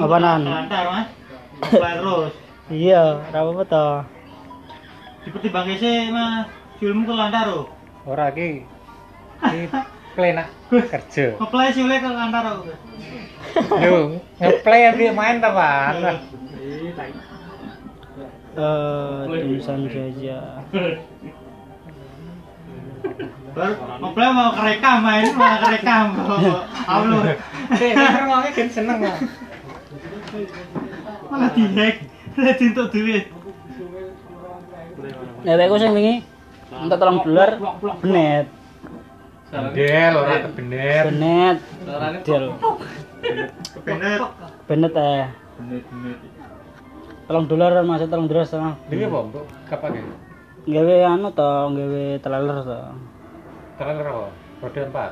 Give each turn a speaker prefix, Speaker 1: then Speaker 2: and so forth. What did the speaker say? Speaker 1: Apa, Nan?
Speaker 2: Lantar mas. Mulai terus.
Speaker 1: Iya, ora apa-apa to.
Speaker 2: Dipertimbangkan sih mas. Filmmu ke lantar oh. loh.
Speaker 3: Ora ki. Ki plena kerja.
Speaker 2: Ngeplay sih ke lantar oh. loh.
Speaker 3: Yo, ngeplay abi main ta, Pak?
Speaker 1: Eh, tulisan saja.
Speaker 2: Baru ngeplay mau kerekam main malah kerekam. Upload.
Speaker 3: Sik, ngerungokne gen seneng lah.
Speaker 2: Malah dihack. Malah untuk duit.
Speaker 1: Nek aku sing wingi minta tolong dolar benet,
Speaker 3: Bendel ora kebener.
Speaker 1: benet, del,
Speaker 2: Bener.
Speaker 1: benet eh. Tolong dolar masuk tolong dolar sama.
Speaker 3: Dene apa, Mbok? Kapake?
Speaker 1: Gawe anu to, gawe teler to.
Speaker 3: Terlalu apa? Roda 4.